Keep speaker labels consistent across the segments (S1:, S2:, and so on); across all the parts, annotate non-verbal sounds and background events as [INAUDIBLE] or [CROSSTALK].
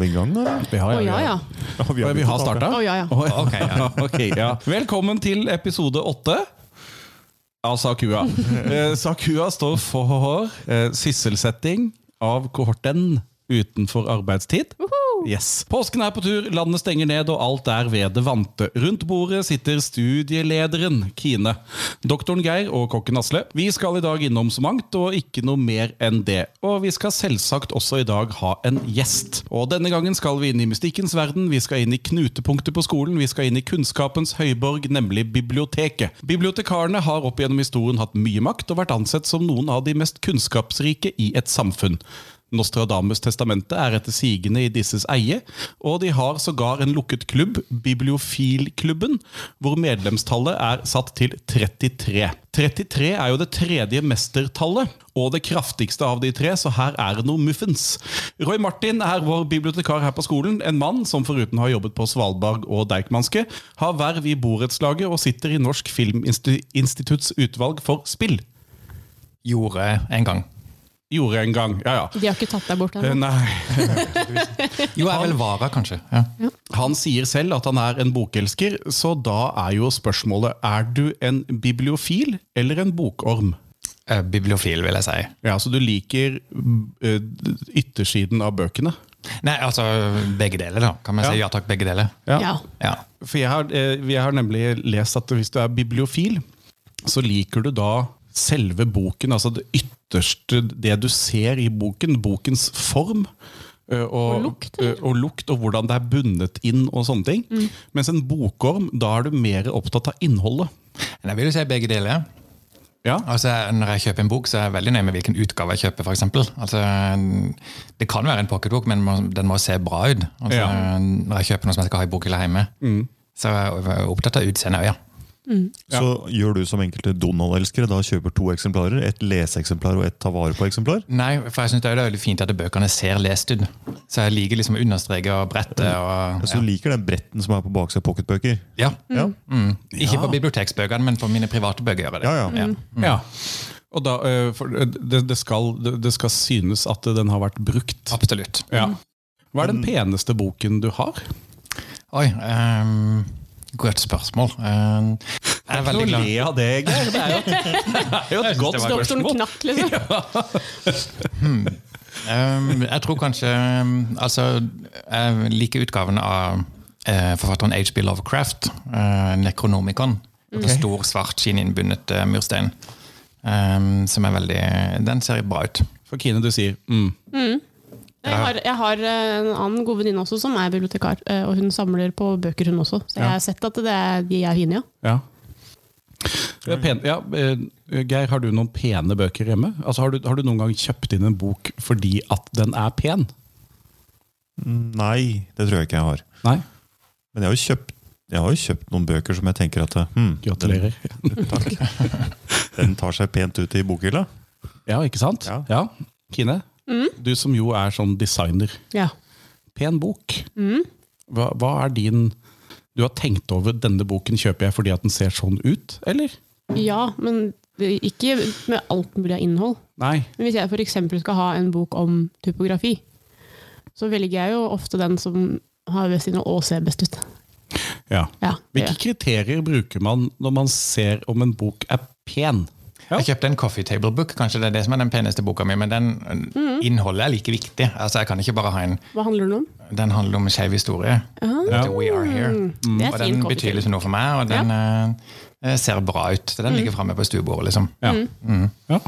S1: vi i gang, da?
S2: Vi har,
S3: Å ja, ja.
S1: Ja,
S2: Vi har, vi har
S1: begynt å
S2: starta?
S1: starte.
S3: Å, ja, ja.
S2: [LAUGHS] Ok, ja. ok, ja. Velkommen til episode åtte av [LAUGHS] Sakua. Eh, Sakua står for eh, sysselsetting av kohorten utenfor arbeidstid. Yes. Påsken er på tur, landet stenger ned, og alt er ved det vante. Rundt bordet sitter studielederen, Kine, doktoren Geir og kokken Asle. Vi skal i dag innom så mangt, og ikke noe mer enn det. Og vi skal selvsagt også i dag ha en gjest. Og denne gangen skal vi inn i mystikkens verden, vi skal inn i knutepunktet på skolen, vi skal inn i kunnskapens høyborg, nemlig biblioteket. Bibliotekarene har opp gjennom historien hatt mye makt, og vært ansett som noen av de mest kunnskapsrike i et samfunn. Nostradamus' testamente er etter sigende i disses eie, og de har sågar en lukket klubb, Bibliofilklubben, hvor medlemstallet er satt til 33. 33 er jo det tredje mestertallet, og det kraftigste av de tre, så her er det noe muffens. Roy Martin er vår bibliotekar her på skolen, en mann som foruten å ha jobbet på Svalbard og Deichmanske, har verv i borettslaget og sitter i Norsk Filminstitutts utvalg for spill.
S4: Gjorde en gang.
S2: Gjorde en gang, ja ja.
S3: De har ikke tatt deg bort
S2: Eh,
S3: ennå.
S2: Nei.
S4: Jo, jeg vel vara, kanskje. Ja.
S2: Han sier selv at han er en bokelsker, så da er jo spørsmålet er du en bibliofil eller en bokorm?
S4: Eh, Bibliofil, vil jeg si.
S2: Ja, Så du liker mm, eh, yttersiden av bøkene?
S4: Nei, altså begge deler, da. Kan vi si
S2: Ja.
S4: ja takk, begge deler?
S3: Ja.
S4: Ja.
S2: For jeg har, eh, jeg har nemlig lest at hvis du er bibliofil, så liker du da selve boken, altså det ytterste, det du ser i boken, bokens form. eh,
S3: Og lukt, Mm.
S2: eh, og lukt, og hvordan det er bundet inn og sånne ting. Mens en bokorm, da er du mer opptatt av innholdet.
S4: Men jeg vil jo si begge deler.
S2: Ja,
S4: Altså, Når jeg kjøper en bok, så er jeg veldig nøye med hvilken utgave jeg kjøper. For eksempel. altså, det kan være en pocketbok, men må, den må se bra ut. Altså,
S2: Ja.
S4: Når jeg kjøper noe som jeg skal ha i bokhylla hjemme.
S2: Mm.
S4: Så jeg er opptatt av utseendet òg, ja.
S1: Så gjør du som enkelte Donald-elskere, da kjøper to eksemplarer. Et leseeksemplar og et ta vare på-eksemplar.
S4: Nei, for jeg synes det er veldig fint at bøkene ser lest ut. Så jeg liker liksom å understreke og brette.
S1: Så
S4: Og,
S1: Altså, du liker den bretten som er på baksida av pocketbøker?
S4: ja.
S1: Ja.
S4: Mm. Ikke på biblioteksbøkene, men på mine private bøker. gjør jeg det.
S1: Ja,
S2: Mm.
S1: ja.
S2: Ja. Og da, eh, for det, det, skal, det, det skal synes at den har vært brukt.
S4: Absolutt.
S2: Ja. Hva er den peneste boken du har?
S4: Oi, ehm, godt spørsmål. Ehm, jeg er veldig glad.
S2: av det, Geir. Det er jo, det er jo et godt
S4: det var et
S3: Doktoren
S2: spørsmål.
S3: knakk, liksom.
S4: Ehm, jeg tror kanskje ehm, Altså, jeg liker utgaven av eh, forfatteren H.B. Lovecraft, eh, 'Necronomicon'. En stor, svart, skinninnbundet eh, murstein. Ehm, som er veldig Den ser bra ut.
S2: For Kine, du sier mm.
S3: Jeg har, jeg har eh, en annen god venninne også som er bibliotekar, eh, og hun samler på bøker, hun også. Så jeg
S2: Ja.
S3: har sett at det er, de er fine, ja.
S2: Ja. Det er pen, ja. eh, Geir, har du noen pene bøker hjemme? Altså, har, du, har du noen gang kjøpt inn en bok fordi at den er pen?
S1: Mm, Nei, det tror jeg ikke jeg har.
S2: Nei?
S1: Men jeg har jo kjøpt, jeg har jo kjøpt noen bøker som jeg tenker at hmm, den,
S2: Gratulerer.
S1: den tar seg pent ut i bokhylla.
S2: Ja, ikke sant?
S1: Ja.
S2: Kine, du som jo er sånn designer.
S3: ja.
S2: pen bok. Hva, hva er din Du har tenkt over denne boken kjøper jeg fordi at den ser sånn ut, eller?
S3: Ja, men det, ikke med alt mulig av innhold.
S2: Nei.
S3: Men hvis jeg f.eks. skal ha en bok om typografi, så velger jeg jo ofte den som har best innhold og ser best ut.
S2: Ja.
S3: Ja, det
S2: Hvilke
S3: gjør jeg.
S2: kriterier bruker man når man ser om en bok er pen? Ja.
S4: Jeg kjøpte en coffee table book, kanskje det er det som er den peneste boka mi, men den innholdet er like viktig. Altså, jeg kan ikke bare ha en,
S3: Hva handler den om?
S4: Den handler om skeiv historie. Den heter We Are Here.
S3: Ah. Mm. Det er
S4: Og
S3: fin
S4: den
S3: coffee
S4: betyr liksom noe for meg, og den eh, ser bra ut.
S3: Mm.
S4: Så den ligger framme på stuebordet, liksom.
S2: Ja. Mm. ja.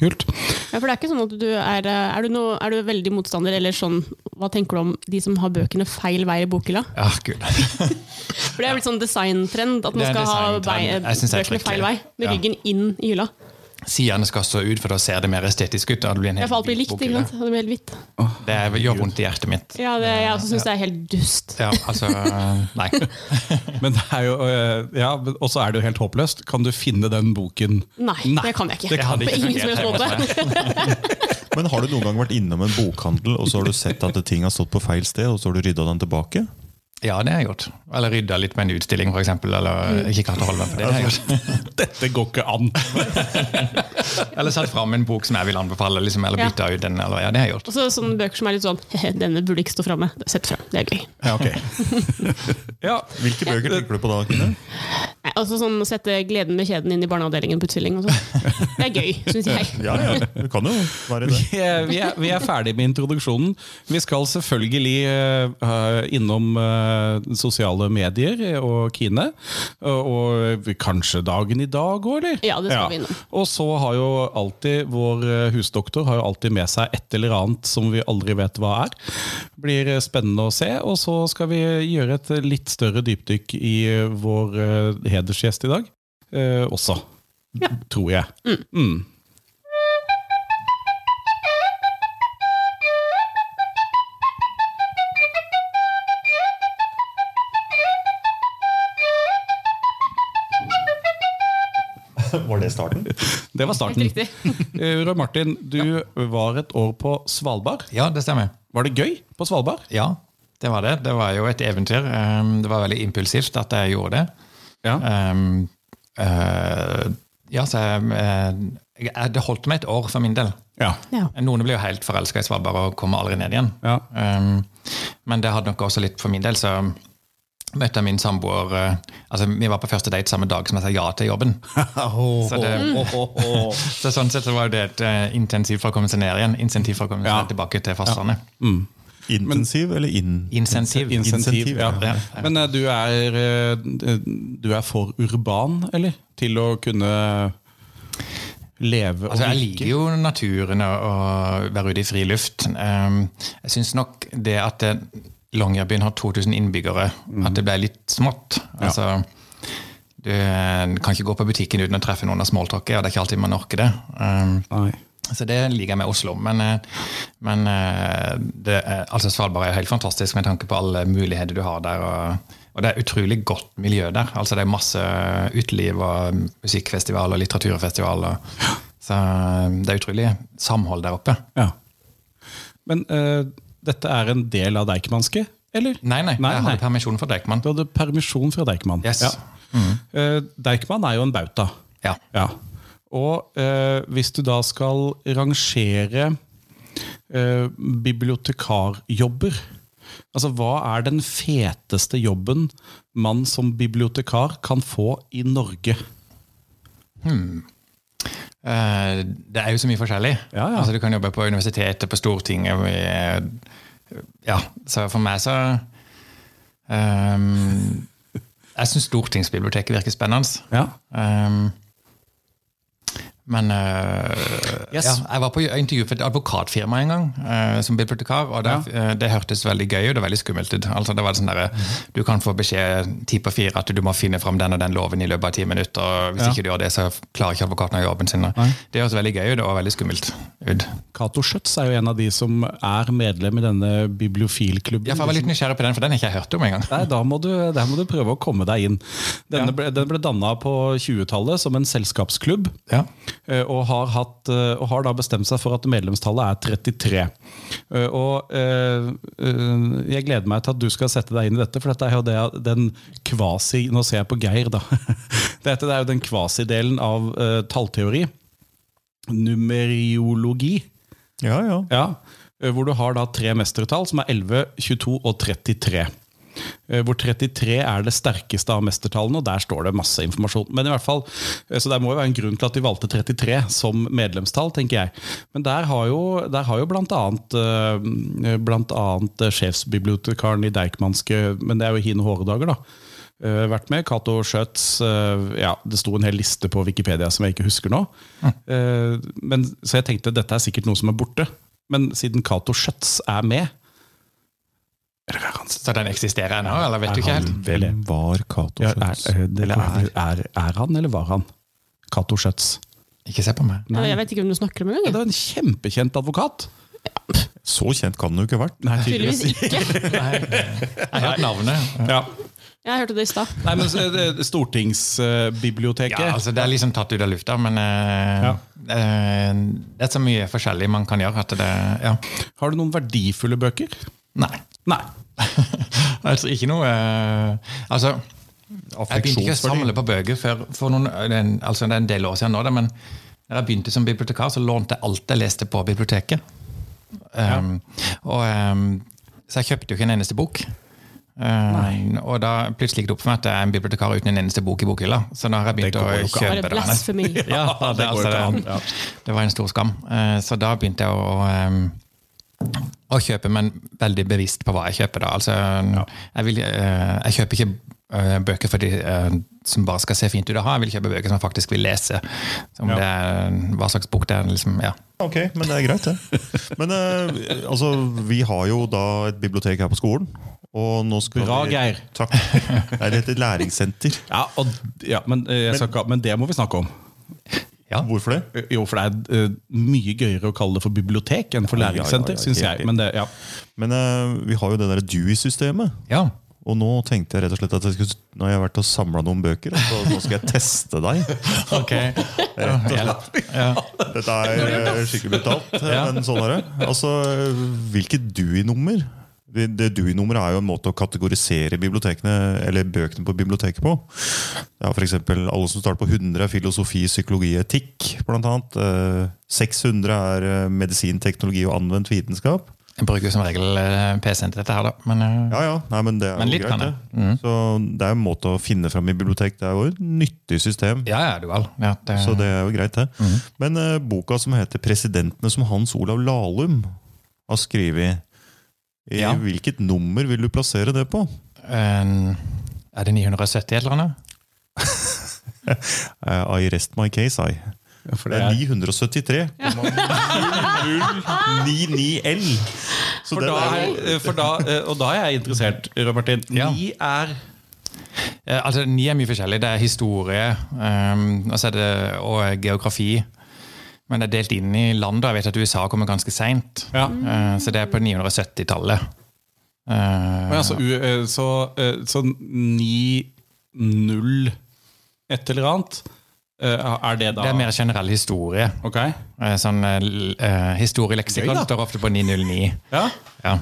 S2: Kult.
S3: Ja, for det er ikke sånn at du er eh, Er du, noe, er du veldig motstander, eller sånn Hva tenker du om de som har bøkene feil vei i bokhylla?
S4: Ja, gud. [LAUGHS]
S3: For det er jo litt sånn designtrend at man
S4: Det er
S3: skal ha
S4: designtrend.
S3: vei,
S4: Jeg synes det er
S3: bøkene feil vei.
S4: fryktelig.
S3: Med
S4: Ja.
S3: ryggen inn i hylla.
S4: Sidene skal stå ut, for da ser det mer estetisk ut. og Det blir en
S3: Jeg
S4: helt
S3: får alt blir
S4: hvit
S3: likt,
S4: bok i
S3: ikke sant? Det blir helt hvitt.
S4: det. Det gjør vondt i hjertet mitt.
S3: Ja, det, jeg også syns det er helt dust.
S4: Ja, altså eh, Nei.
S2: Men det er jo øh, Ja, men- og så er det jo helt håpløst. Kan du finne den boken?
S3: Nei, det kan jeg ikke.
S2: Det kan
S3: På
S2: ikke.
S3: ingen som helst
S4: fungert
S3: måte.
S4: hjemme hos meg.
S1: Men har du noen gang vært innom en bokhandel og så har du sett at ting har stått på feil sted, og så har du rydda den tilbake?
S4: Ja, det har jeg gjort. Eller rydda litt på en utstilling, f.eks. Eller
S3: Mm.
S4: ikke klart å holde meg på det. det har
S3: [LAUGHS]
S4: jeg gjort.
S2: Dette går ikke an!
S4: Eller satt fram en bok som jeg vil anbefale, liksom, eller
S3: Ja.
S4: bytta ut den. Eller, ja, det har jeg gjort.
S3: Og så sånne bøker som er litt sånn «Hehe, Denne burde ikke stå framme. Sett fram. Det er gøy.
S2: Ja, ok. ja,
S1: Hvilke bøker tenker du på da, Kine?
S3: Nei, altså sånn å sette gleden med kjeden inn i barneavdelingen på utstilling og sånn. Det er gøy, syns jeg.
S1: [LAUGHS] Ja, ja, du kan jo være det.
S2: vi er, vi er- vi er ferdig med introduksjonen. Vi skal selvfølgelig eh, eh, innom eh, sosiale medier eh, og Kine. Eh, Og, og kanskje dagen i dag òg, eller?
S3: Ja, det skal vi innom.
S2: Og så har jo alltid vår eh, husdoktor har jo alltid med seg et eller annet som vi aldri vet hva er. Blir eh, spennende å se. Og så skal vi gjøre et eh, litt større dypdykk i eh, vår eh, hedersgjest i dag eh, også.
S3: Ja.
S2: Tror jeg. Mm.
S1: Var det starten?
S2: Det var
S3: Helt
S2: starten.
S3: riktig.
S2: Eh, Roy Martin, du var et år på Svalbard.
S4: Ja, det stemmer.
S2: Var det gøy på Svalbard?
S4: Ja, det var det. Det var jo et eventyr. Um, Det var veldig impulsivt at jeg gjorde det.
S2: Ja.
S4: Um, eh, ja, så jeg, eh, jeg, det holdt meg et år for min del. [LAUGHS]
S2: Ja.
S3: Ja.
S4: Noen ble jo helt forelska i Svalbard og kom aldri ned igjen.
S2: Ja.
S4: Um, men det hadde nok også litt for min del, så møtte jeg min samboer eh, altså Vi var på første date samme dag som jeg sa ja til jobben. Så det- Så sånn sett så var jo det et eh, intensiv for å komme seg ned igjen. Insentiv for å komme seg
S2: Ja.
S4: tilbake til fastlandet.
S1: Intensiv eller inn?
S4: Insentiv.
S2: Insentiv,
S1: Insentiv,
S2: ja.
S4: ja.
S2: Men eh, du er, eh, du er for urban, eller? Til å kunne leve og
S4: Altså, jeg
S2: virke?
S4: liker jo naturen og og være ute i friluft. Um, jeg syns nok det at det- Longyearbyen har 2000 innbyggere,
S2: Mm.
S4: at det ble litt smått. Altså, du eh, kan ikke gå på butikken uten å treffe noen av smalltalket, og det er ikke alltid man orker det. Um,
S2: Nei.
S4: så det liker jeg med Oslo. Men, eh, men eh, det, er- altså Svalbard er jo helt fantastisk med tanke på alle muligheter du har der. Og, og det er utrolig godt miljø der. Altså Det er masse uteliv og musikkfestival og litteraturfestival. Og, så eh, det er utrolig samhold der oppe.
S2: Ja. Men eh, dette er en del av Deichmanske, eller?
S4: Nei, nei,
S2: Nei, nei.
S4: jeg hadde permisjon fra Deichman.
S2: Du hadde permisjon fra Deichman.
S4: Yes. Mm.
S2: Eh, Deichman er jo en bauta.
S4: Ja.
S2: Ja. Og eh, hvis du da skal rangere eh, bibliotekarjobber Altså, hva er den feteste jobben man som bibliotekar kan få i Norge?
S4: Eh, Det er jo så mye forskjellig.
S2: Ja, ja.
S4: Altså Du kan jobbe på universitetet, på Stortinget med, Ja, så for meg så ehm, Jeg syns Stortingsbiblioteket virker spennende.
S2: Ja.
S4: Ehm, men eh,
S2: Yes.
S4: ja, Jeg var på intervju for et advokatfirma en gang eh, som bibliotekar, og det, eh, det hørtes veldig gøy ut og veldig skummelt ut. Altså det var sånn der, Du kan få beskjed ti på fire at du må finne fram den og den loven i løpet av ti minutter. og Hvis
S2: Ja.
S4: ikke du gjør det, så klarer ikke advokaten å gjøre jobben sin. Det hørtes veldig gøy ut og veldig skummelt ut.
S2: Cato Schjøtz er jo en av de som er medlem i denne bibliofilklubben.
S4: Ja, for Jeg var litt nysgjerrig på den, for den har ikke jeg hørt om engang.
S2: Nei, da må, du, der må du prøve å komme deg inn. Denne ble, den ble danna på 20-tallet som en selskapsklubb.
S4: Ja.
S2: eh, Og har, hatt, eh, og har da bestemt seg for at medlemstallet er 33. Eh, Og eh, eh, jeg gleder meg til at du skal sette deg inn i dette, for dette er jo det, den kvasi Nå ser jeg på Geir, da. [LAUGHS] Dette er jo den kvasidelen av eh, tallteori. Numeriologi.
S1: Ja, ja.
S2: Ja, eh, hvor du har da tre mestertall, som er 11, 22 og 33. Eh, Hvor 33 er det sterkeste av mestertallene, og der står det masse informasjon. Men i hvert fall, eh, Så det må jo være en grunn til at de valgte 33 som medlemstall, tenker jeg. Men der har jo, der har jo blant, annet, eh, blant annet eh, sjefsbibliotekaren i Deichmanske, men det er jo hin håredager, da. eh, Vært med. Cato Schjøtz. eh, Ja, det sto en hel liste på Wikipedia som jeg ikke husker nå.
S4: Mm.
S2: Eh, Men, så jeg tenkte dette er sikkert noe som er borte. Men siden Cato Schjøtz er med Eller er han
S4: Så den eksisterer ennå, eller vet du ikke helt?
S1: Hvem var Cato
S2: ja,
S1: Schjøtz?
S2: er, eh, det,
S4: Eller
S2: er,
S4: er-
S2: er, er han, eller var han? Cato Schjøtz.
S4: Ikke se på meg.
S3: Ja, Jeg vet ikke hvem du snakker om
S2: Det
S3: engang. jeg.
S2: var en kjempekjent advokat.
S1: Så kjent kan den jo ikke ha vært.
S3: Tydeligvis ikke.
S4: Jeg har hørt navnet.
S2: Ja.
S3: Jeg hørte det i stad.
S2: Nei, men så- det- Stortingsbiblioteket.
S4: Ja, altså Det er liksom tatt ut av lufta, men eh,
S2: Ja.
S4: eh, det er så mye forskjellig man kan gjøre at det ja.
S2: Har du noen verdifulle bøker?
S4: Nei.
S2: Nei.
S4: Altså, ikke noe eh, Altså, jeg begynte ikke å samle på bøker før for noen, det er en, altså det er en del år siden nå, da, men da jeg begynte som bibliotekar, så lånte jeg alt jeg leste på biblioteket. Um, og, um, så jeg kjøpte jo ikke en eneste bok. Um, og da plutselig gikk det opp for meg at jeg er en bibliotekar uten en eneste bok i bokhylla. Så da har jeg
S2: Det
S4: begynt å
S2: går jo ikke an.
S3: Var
S4: kjøpe
S3: det
S1: [LAUGHS]
S3: blasfemi?
S4: det.
S2: Ja,
S4: Ja,
S2: det går
S4: altså,
S2: ikke an.
S4: det-
S2: Ja.
S4: Det var en stor skam. Eh, Så da begynte jeg å, eh, å kjøpe, men veldig bevisst på hva jeg kjøper. da. Altså, jeg, vil, eh, jeg kjøper ikke eh, bøker for de eh, som bare skal se fint ut å ha, jeg vil kjøpe bøker som jeg faktisk vil lese. Som
S2: Ja.
S4: det er, hva slags bok det er. Liksom, ja.
S1: Ok, men det er greit, det. Men eh, altså, vi har jo da et bibliotek her på skolen. Og nå skal
S2: Bra,
S1: vi
S2: Geir.
S1: Takk. Det er et læringssenter.
S2: Ja, og, ja men, eh, jeg skal ikke, ha- men det må vi snakke om.
S1: Hvorfor det?
S2: Jo, for det er eh, mye gøyere å kalle det for bibliotek enn for
S1: Ja, ja, ja,
S2: læringssenter,
S1: ja,
S2: syns
S1: helt
S2: jeg. Men det, ja.
S1: Men eh, vi har jo det der Dewey-systemet.
S4: ja.
S1: Og nå tenkte jeg rett og slett at jeg skulle, nå har jeg vært og samla noen bøker, så nå skal jeg teste deg.
S4: Ok.
S1: Dette er eh, skikkelig brutalt, eh, men sånn er det. Altså, hvilket Dewey-nummer? Det det Dewey-nummeret er jo en måte å kategorisere bibliotekene, eller bøkene på biblioteket på. Ja, for eksempel, alle som starter på 100 er filosofi, psykologi, etikk, blant annet. Eh, 600 er eh, medisin, teknologi og anvendt vitenskap.
S4: Jeg bruker jo som regel eh, PC-en til dette her, da. Men eh,
S1: Ja, ja. Nei, men det er
S4: Men
S1: jo
S4: litt
S1: greit,
S4: kan jeg. Mm.
S1: det. Så det er en måte å finne fram i bibliotek. Det er jo et nyttig system.
S4: ja, ja, du vel. Ja, det,
S1: Så det er jo greit, det.
S2: Mhm.
S1: Men eh, boka som heter 'Presidentene som Hans Olav Lahlum' har skrevet i
S4: Ja.
S1: Hvilket nummer vil du plassere det på?
S4: eh, er det 970 eller noe?
S1: Eh, I rest my case, I.
S2: [LAUGHS] for
S1: Det
S2: det
S1: er
S2: er-
S1: 973,099L. Så
S2: For
S1: den
S2: da,
S1: er jo
S2: er, for da, eh, og da er jeg interessert, Rød Martin.
S4: Ja.
S2: Ni er
S4: Eh, Altså, Ni er mye forskjellig. Det er historie ehm, og, så er det, og geografi. Men det er delt inn i land. da. Jeg vet at USA kommer ganske seint.
S2: ja.
S4: så det er på 970-tallet. Eh,
S2: Men altså, u, eh, så, eh, så 9-0 et eller annet, eh, er det da
S4: det er mer generell historie.
S2: Ok?
S4: Eh, sånn eh, l-
S2: Gøy,
S4: eh, Historieleksikon
S2: da.
S4: står ofte på 909.
S2: Ja.
S4: Ja.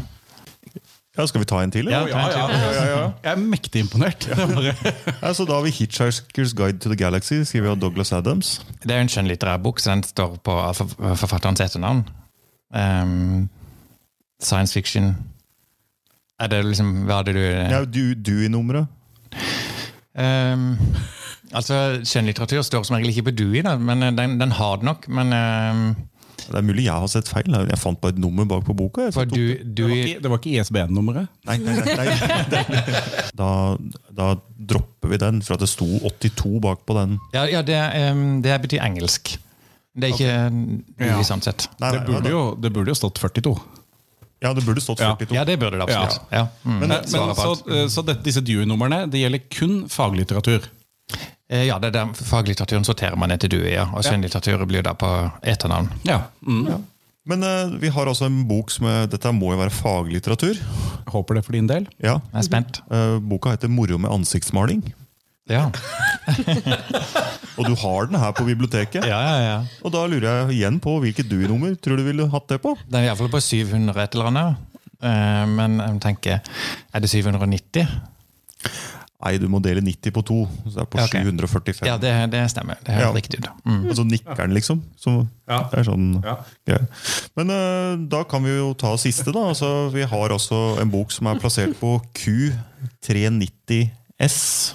S1: ja, Skal vi ta en til? eller?
S4: Ja.
S2: Å, ja, ja. Jeg er mektig imponert. Det er bare- [LAUGHS]
S1: Ja, så da har vi 'Hitchhiker's Guide to the Galaxy', skrevet av Douglas Adams.
S4: Det er jo en skjønnlitterær bok, så den står på av forf- forfatterens etternavn. Ehm, science fiction Er det liksom Hva er det du
S1: Ja, du, du i nummeret.
S4: Ehm, altså, Skjønnlitteratur står som regel ikke på Dewey, da, men eh, den, den har det nok. Men ehm,
S1: Det er mulig jeg har sett feil. her. Jeg fant bare et nummer bak på boka. Jeg, så
S4: for
S1: tok-
S4: Dewey,
S2: Det var
S4: Dewey
S2: ikke, det var ikke ISBN-nummeret.
S1: Nei, nei, nei, nei. Da, da dropper vi den, for at det sto 82 bak på den.
S4: ja, ja, det, ehm, det betyr engelsk. Det er ikke Dewey,
S2: Ja.
S4: sånn sett.
S1: Nei,
S2: Det
S1: nei,
S2: burde
S1: ja,
S2: jo, det burde jo stått 42.
S1: da- Ja, det burde stått
S2: Ja.
S1: 42.
S4: Ja, det burde det absolutt. Ja. Mm.
S2: Men,
S4: Svaret
S2: men,
S4: på
S2: så
S4: alt.
S2: eh, så dette, disse Dewey-numrene det gjelder kun faglitteratur.
S4: Eh, ja, det er der faglitteraturen sorterer man etter Dewey, ja. og skjønnlitteratur blir da på etternavn.
S2: Ja. Mm.
S1: Men eh, vi har altså en bok som er, Dette må jo være faglitteratur.
S2: Håper det for din del.
S1: Ja.
S4: Jeg er spent.
S1: Eh, boka heter 'Moro med ansiktsmaling'.
S4: Ja,
S1: Og du har den her på biblioteket.
S4: ja, ja. ja.
S1: Og da lurer jeg igjen på hvilket du-nummer tror du ville hatt det på?
S4: Den er iallfall på 700 et eller annet. Eh, men jeg tenker, er det 790?
S1: Nei, du må dele 90 på to. Så det er på
S4: Ja, ok.
S1: 745.
S4: Ja, det, det stemmer. Det høres
S1: Ja.
S4: riktig ut. Mm.
S1: Og så nikker den, liksom. Så
S2: Ja.
S1: det er sånn
S2: Ja.
S1: greie. Men eh, da kan vi jo ta siste, da. Altså, vi har altså en bok som er plassert på Q390S.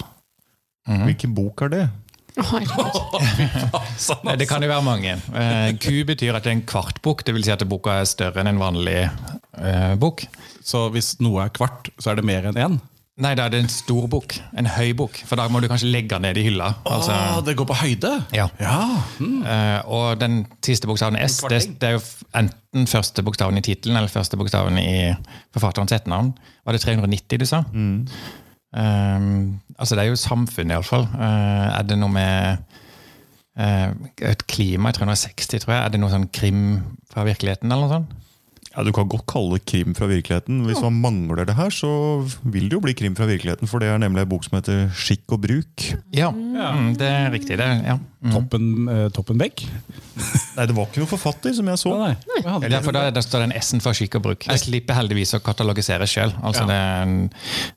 S4: Mhm.
S1: Hvilken bok er det?
S3: Å, herregud.
S4: Nei, Det kan jo være mange. Eh, Q betyr at det er en kvart bok, det vil Si at boka er større enn en vanlig eh, bok.
S2: Så hvis noe er kvart, så er det mer enn én?
S4: Nei, da er det en stor bok. En høy bok. For da må du kanskje legge den ned i hylla. Altså,
S2: ah, det går på høyde?
S4: ja.
S2: Ja.
S4: Eh, og den siste bokstaven S, det,
S2: kvarting.
S4: det er jo f- enten første bokstaven i tittelen eller første bokstaven i forfatterens etternavn. Var det 390 du sa? Eh, altså, det er jo samfunnet, iallfall. Uh, er det noe med eh, et klima i 360, tror jeg? Er det noe sånn krim fra virkeligheten, eller noe sånt?
S1: Ja, Du kan godt kalle det krim fra virkeligheten. Hvis man mangler det her, så vil det jo bli krim fra virkeligheten. For det er nemlig en bok som heter Skikk og bruk.
S4: Ja, mm, det er riktig. det, ja. Mm.
S2: Toppen, eh, toppen vekk?
S1: Nei, det var ikke noen forfatter som jeg så.
S2: Nei, nei. Jeg hadde-
S4: Ja, for der, der står den S-en for skikk og bruk. Jeg slipper heldigvis å katalogisere sjøl. Altså det,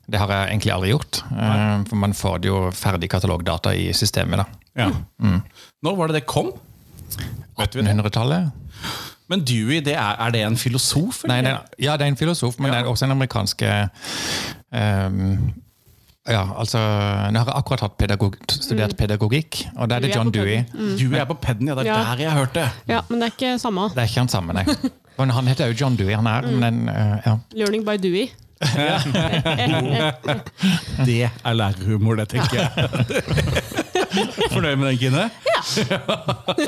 S4: det har jeg egentlig aldri gjort. Eh, For man får det jo ferdig katalogdata i systemet. da.
S2: Ja. Når var det det kom? Vet vi det?
S4: 1800-tallet?
S2: Men Dewey, det er, er det en filosof?
S4: Nei,
S2: eller?
S4: det, er- ja, det er en filosof, men det er også en amerikanske ehm, ja, altså, Nå har jeg akkurat hatt pedagog, studert pedagogikk, og da er det
S3: Vi Mm. er
S4: John
S3: på
S4: Dewey.
S2: Dewey er på peden, Mm. ja. Det er
S3: Ja.
S2: der jeg har hørt det.
S3: Ja, men det er ikke samme.
S4: Det er ikke han samme,
S3: [LAUGHS]
S4: nei. Men han heter jo John Dewey. han er,
S3: Mm.
S4: men, eh, ja.
S3: Learning by Dewey.
S2: Det er lærerhumor, det, tenker jeg. [LAUGHS] Fornøyd med den, Kine?
S1: Ja, det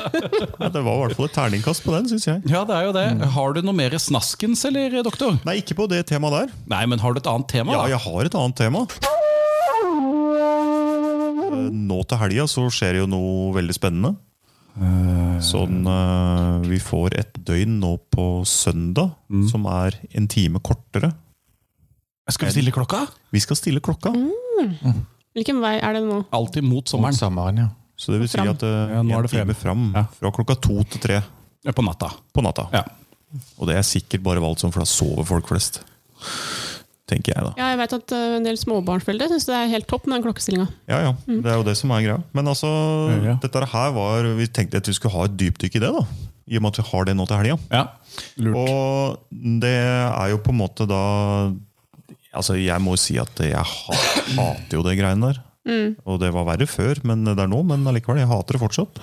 S1: var i hvert fall et terningkast på den, syns jeg.
S2: Ja, det er jo det. Mm. Har du noe mer snaskens, eller, doktor?
S1: Nei, ikke på det temaet der.
S2: Nei, men har du et annet tema?
S1: Ja,
S2: da?
S1: jeg har et annet tema. Eh, Nå til helga så skjer jo noe veldig spennende. Sånn eh, Vi får et døgn nå på søndag som er en time kortere.
S2: Skal vi stille klokka?
S1: Vi skal stille klokka.
S3: Hvilken vei er det nå?
S2: Alltid mot
S4: Om
S2: sommeren.
S4: sommeren, ja.
S1: Så det vil si
S3: Fram.
S1: at eh,
S2: Ja, nå er
S1: en
S2: det frem.
S1: time fram
S2: Ja.
S1: fra klokka to til tre
S2: På natta.
S1: på natta.
S2: Ja.
S1: Og det er sikkert bare valgt sånn, for da sover folk flest. Tenker jeg, da.
S3: Ja, jeg vet at eh, en del småbarnsforeldre syns det er helt topp med den klokkestillinga.
S1: Ja, ja.
S3: Mm.
S1: Det er jo det som er greia. Men altså,
S2: Ja, ja.
S1: dette her var Vi tenkte at vi skulle ha et dypdykk i det, da. I og med at vi har det nå til helga.
S2: ja. Lurt.
S1: Og det er jo på en måte da Altså, jeg må jo si at jeg ha- hater jo det greiene der.
S3: Mm.
S1: Og det var verre før, men det er nå, men allikevel, jeg hater det fortsatt.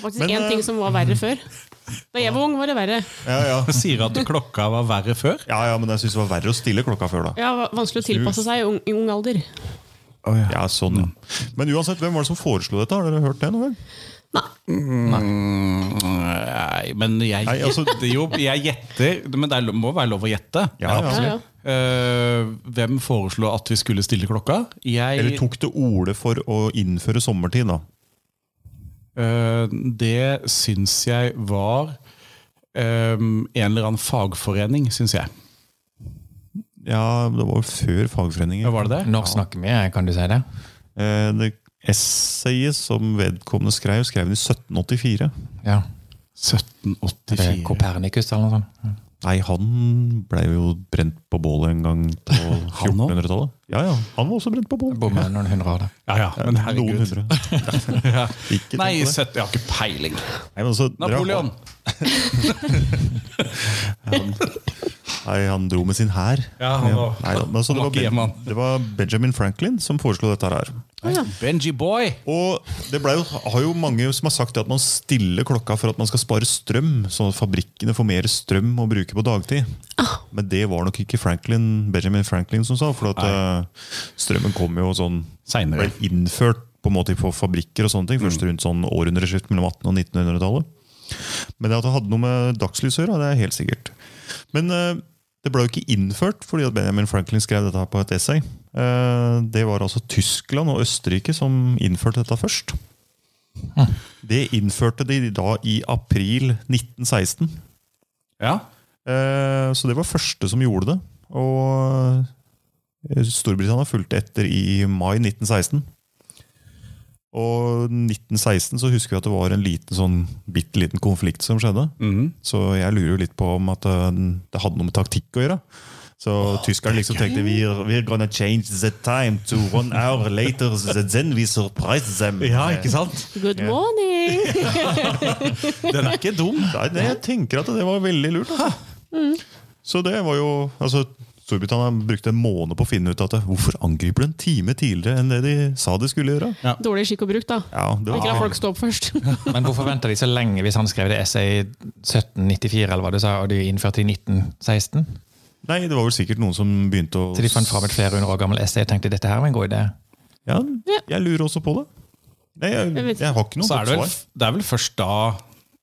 S3: Faktisk
S1: Men,
S3: én
S1: eh,
S3: ting som var
S1: [LAUGHS]
S3: verre før. Da jeg var ung, var det verre.
S1: Ja, ja.
S2: [LAUGHS] Sier at klokka var verre før.
S1: ja, ja men jeg syns det var verre å stille klokka før, da.
S3: Ja, va- Vanskelig å tilpasse seg i ung, i ung alder.
S1: Ja, sånn, ja. Men uansett, hvem var det som foreslo dette? Har dere hørt det noen gang?
S2: Nei, men jeg
S1: Nei, altså-
S2: gjetter jo. Jeg gjetter, men det er lo- må være lov å gjette.
S1: Ja, ja.
S3: Ja, ja.
S2: Eh, hvem foreslo at vi skulle stille klokka? Jeg,
S1: Eller tok til orde for å innføre sommertid, da.
S2: Eh, det syns jeg var eh, en eller annen fagforening, syns jeg.
S1: Ja, det var jo før fagforeningen.
S2: Ja, Var det det?
S4: Når snakker vi, kan du si det?
S1: Eh, Det essayet som vedkommende skrev, skrev han i 1784.
S4: Ja. Det er
S2: 1784.
S4: Kopernikus eller noe sånt.
S1: Nei, han ble jo brent på bålet en gang på
S2: [LAUGHS] Han også?
S1: 1400-tallet. Ja, ja, han var også brent på bålet.
S4: Bommer noen hundre år, da.
S2: Ja, ja, men
S1: Noen
S2: herregud.
S1: hundre.
S2: [LAUGHS] Ja.
S1: Ikke tenk
S2: Nei,
S1: på det.
S2: søtt- jeg har ikke peiling.
S1: Nei, men altså, dere har-
S2: Napoleon!
S1: Nei, han dro med sin hær.
S2: Ja, han var-
S1: Nei, men altså, det,
S2: Han var
S1: var
S2: ikke hjemme, han.
S1: ben, det var Benjamin Franklin som foreslo dette her.
S2: Benji Boy!
S1: Og det ble jo, har jo mange som har sagt det at man stiller klokka for at man skal spare strøm, sånn at fabrikkene får mer strøm å bruke på dagtid. Men det var nok ikke Franklin, Benjamin Franklin som sa, for at eh, strømmen kom jo sånn
S2: Senere.
S1: Ble innført på en måte på fabrikker og sånne ting, først rundt sånn århundreskift mellom 1800- og 1900-tallet. Men det at det hadde noe med dagslys å gjøre, det er helt sikkert. Men eh, det ble jo ikke innført fordi at Benjamin Franklin skrev dette her på et essay. Eh, det var altså Tyskland og Østerrike som innførte dette først. Det innførte de da i april 1916.
S2: Ja.
S1: Eh, så det var første som gjorde det. Og eh, Storbritannia fulgte etter i mai 1916. Og 1916 så husker vi at det var en liten sånn bitte liten konflikt som skjedde. Så jeg lurer jo litt på om at eh, det hadde noe med taktikk å gjøre. Så tyskerne liksom tenkte we're, we're gonna change the time to one hour later then we surprise them.
S2: sant?
S3: Good
S1: [LAUGHS]
S3: morning!
S2: Den er ikke dum.
S1: Nei, det, jeg tenker at det var veldig lurt. Altså. Så det var jo altså, Storbritannia brukte en måned på å finne ut at hvorfor angriper de en time tidligere enn det de sa de skulle gjøre?
S3: Dårlig skikk og bruk, da.
S1: Ja, det
S3: Ikke la
S1: var,
S3: folk stå opp
S1: [LAUGHS]
S3: først.
S4: Men hvorfor venta de så lenge hvis han skrev det essay i 1794, eller hva du sa, og de innførte i 1916?
S1: nei, det var vel sikkert noen som begynte å
S4: Så de fant fram et flere hundre år gammel essay og tenkte dette her var en god idé?
S1: Ja, jeg lurer også på det. Nei,
S3: Jeg
S1: jeg,
S3: vet-
S1: jeg har ikke noe
S2: Så er det,
S1: godt
S2: vel,
S1: svar.
S2: det er vel først da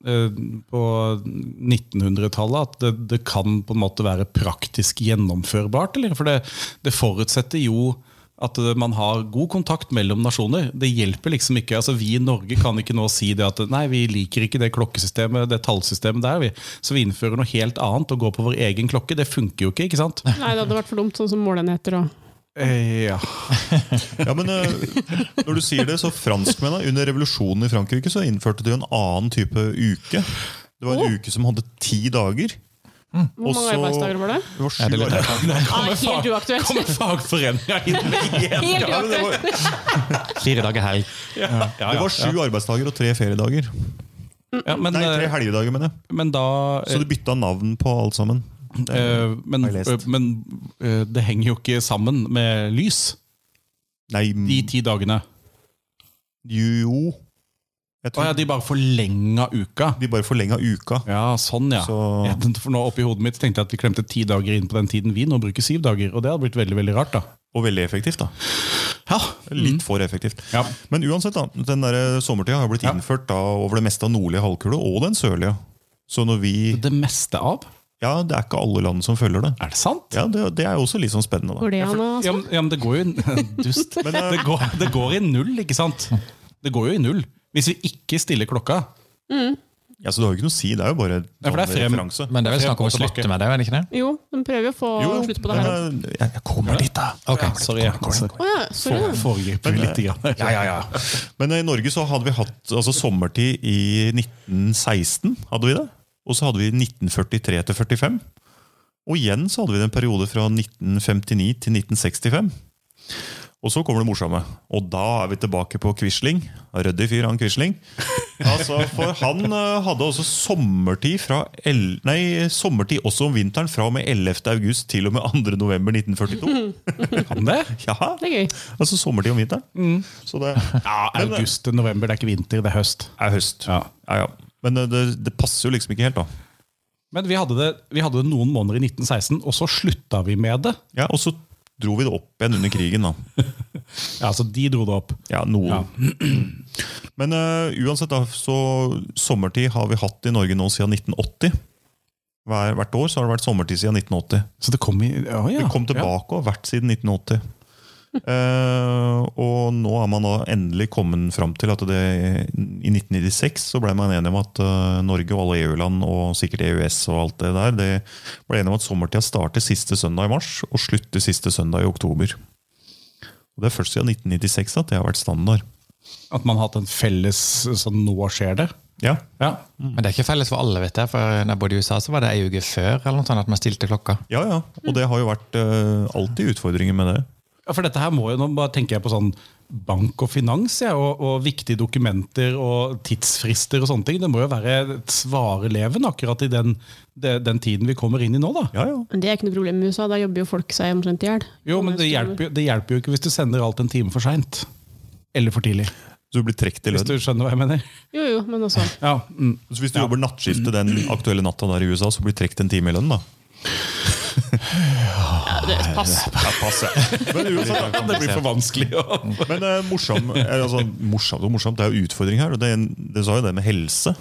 S2: eh, på 1900-tallet at det, det kan på en måte være praktisk gjennomførbart? Eller? For det, det forutsetter jo at eh, man har god kontakt mellom nasjoner. Det hjelper liksom ikke. altså Vi i Norge kan ikke nå si det at nei, vi liker ikke det klokkesystemet, det tallsystemet der, vi. så vi innfører noe helt annet og går på vår egen klokke. Det funker jo ikke, ikke sant?
S3: Nei, det hadde vært for dumt, sånn som målenheter og
S2: Eh, ja.
S1: Ja, men eh, Når du sier det, så franskmennene under revolusjonen i Frankrike så innførte de jo en annen type uke. Det var en uke som hadde ti dager.
S3: Hvor mange
S1: Også-
S3: arbeidsdager var det?
S1: Det var sju
S4: Er det litt
S1: dager.
S3: Ah, helt uaktuelt!
S2: Kommer fagforeninga inn med
S1: [LAUGHS]
S2: igjen?
S3: Helt
S1: Ja, men det, var,
S3: uaktuelt.
S4: Fire dager helg.
S2: Ja, ja,
S1: det var sju arbeidsdager og tre feriedager.
S2: ja, men,
S1: Nei, tre
S2: eh,
S1: helgedager, mener jeg.
S2: men da
S1: Så de bytta navn på alt sammen.
S2: eh, Men,
S1: Har jeg lest.
S2: eh, men eh, det henger jo ikke sammen med lys,
S1: Nei, mm,
S2: de ti dagene.
S1: jo Jeg
S2: Å ja,
S1: tror
S2: de bare forlenga uka.
S1: de bare forlenga uka.
S2: Ja, sånn, ja.
S1: Så-
S2: ja. For nå oppi hodet mitt tenkte jeg at vi klemte ti dager inn på den tiden vi nå bruker syv dager. Og det hadde blitt veldig veldig rart, da.
S1: Og veldig effektivt, da.
S2: Ja.
S1: Litt for effektivt.
S2: Mm. Ja.
S1: Men uansett, da, den der eh, sommertida har blitt
S2: Ja.
S1: innført da over det meste av nordlige halvkule og den sørlige. Så når vi
S2: Det meste av?
S1: Ja, det er ikke alle land som følger det.
S2: Er det sant?
S1: Ja, Det, det er jo også litt sånn spennende. da
S3: Går det an å
S2: Ja, men, ja, men det går jo i [LAUGHS] Dust.
S1: Men, eh,
S2: det, går, det går i null, ikke sant? Det går jo i null. Hvis vi ikke stiller klokka.
S1: Ja, så det har jo ikke noe å si, det er jo bare en
S2: Ja, for det er
S1: sånn
S2: frem-
S1: referanse.
S4: Men det er vel snakk om å
S2: Jeg må tilbake.
S4: slutte med det, er det ikke det?
S3: Jo, de prøver jo å få slutt på det her.
S1: men, eh, Jeg, jeg kommer dit, da.
S4: Ok.
S2: Ja, sorry. jeg- altså,
S3: Å ja, sorry.
S2: for- Foregriper vi litt. Grann.
S1: Ja, ja, ja. Men i Norge så hadde vi hatt altså, sommertid i 1916. hadde vi det. Og så hadde vi 1943 til 45. Og igjen så hadde vi en periode fra 1959 til 1965. Og så kommer det morsomme. Og da er vi tilbake på Quisling. Røddig fyr, han Quisling. Altså, for han eh, hadde også sommertid fra el Nei, sommertid også om vinteren fra og med 11. august til og med 2. november 1942. eh,
S2: Kan det?
S1: [LAUGHS] Ja,
S3: Det er gøy.
S1: altså sommertid om vinteren. Så det
S2: Ja,
S1: Men, eh,
S2: August til november. Det er ikke vinter, det er høst.
S1: er høst.
S2: Ja.
S1: Ja, ja. Men eh, det, det passer jo liksom ikke helt, da.
S2: Men vi hadde, det, vi hadde det noen måneder i 1916, og så slutta vi med det.
S1: Ja, Og så dro vi det opp igjen under krigen, da.
S2: Ja, altså De dro det opp.
S1: Ja, noen. [CLEARS THROAT]
S2: Ja.
S1: Men eh, uansett, da, så sommertid har vi hatt i Norge nå siden 1980. Hver, hvert år så har det vært sommertid siden 1980.
S2: Så det kom i ja, ja.
S1: Det kom tilbake og har vært siden 1980. Eh, og nå er man da endelig kommet fram til at det, i 1996 så ble man enige om at eh, Norge og alle EU-land og sikkert EØS og alt det der, det ble enige om at sommertida starter siste søndag i mars og slutter siste søndag i oktober. Og Det er først siden 1996 at det har vært standard.
S2: Ja. At man har hatt en felles sånn Nå skjer det.
S1: Ja,
S2: Ja.
S4: Men det er ikke felles for alle, vet jeg. For da jeg bodde i USA, så var det ei uke før eller noe sånt at man stilte klokka.
S1: ja, ja. Og det har jo vært eh, alltid utfordringer med det.
S2: ja, For dette her må jo Nå bare tenker jeg på sånn bank og finans ja, og, og viktige dokumenter og tidsfrister og sånne ting. Det må jo være et svare leven akkurat i den, de- den tiden vi kommer inn i nå, da.
S1: Ja, ja.
S3: Men det er ikke noe problem i USA, da jobber jo folk seg omtrent i hjel.
S2: Jo, men det hjelper, jo- det hjelper jo ikke hvis du sender alt en time for seint. Eller for tidlig,
S1: Så du blir trukket i
S2: hvis
S1: lønn.
S2: du skjønner hva jeg mener.
S3: Jo, jo, men altså.
S2: Ja, mm.
S1: Så hvis du jobber nattskiftet den aktuelle natta der i USA, så blir du trukket en time i lønn, da?
S2: Ah,
S3: Ja, det, pass.
S1: Ja, passe. Men, uansett,
S2: Det blir for vanskelig å
S1: men eh, morsom, eh, altså, morsomt og morsomt, det er jo utfordring her. og Det, det sa jo det med helse.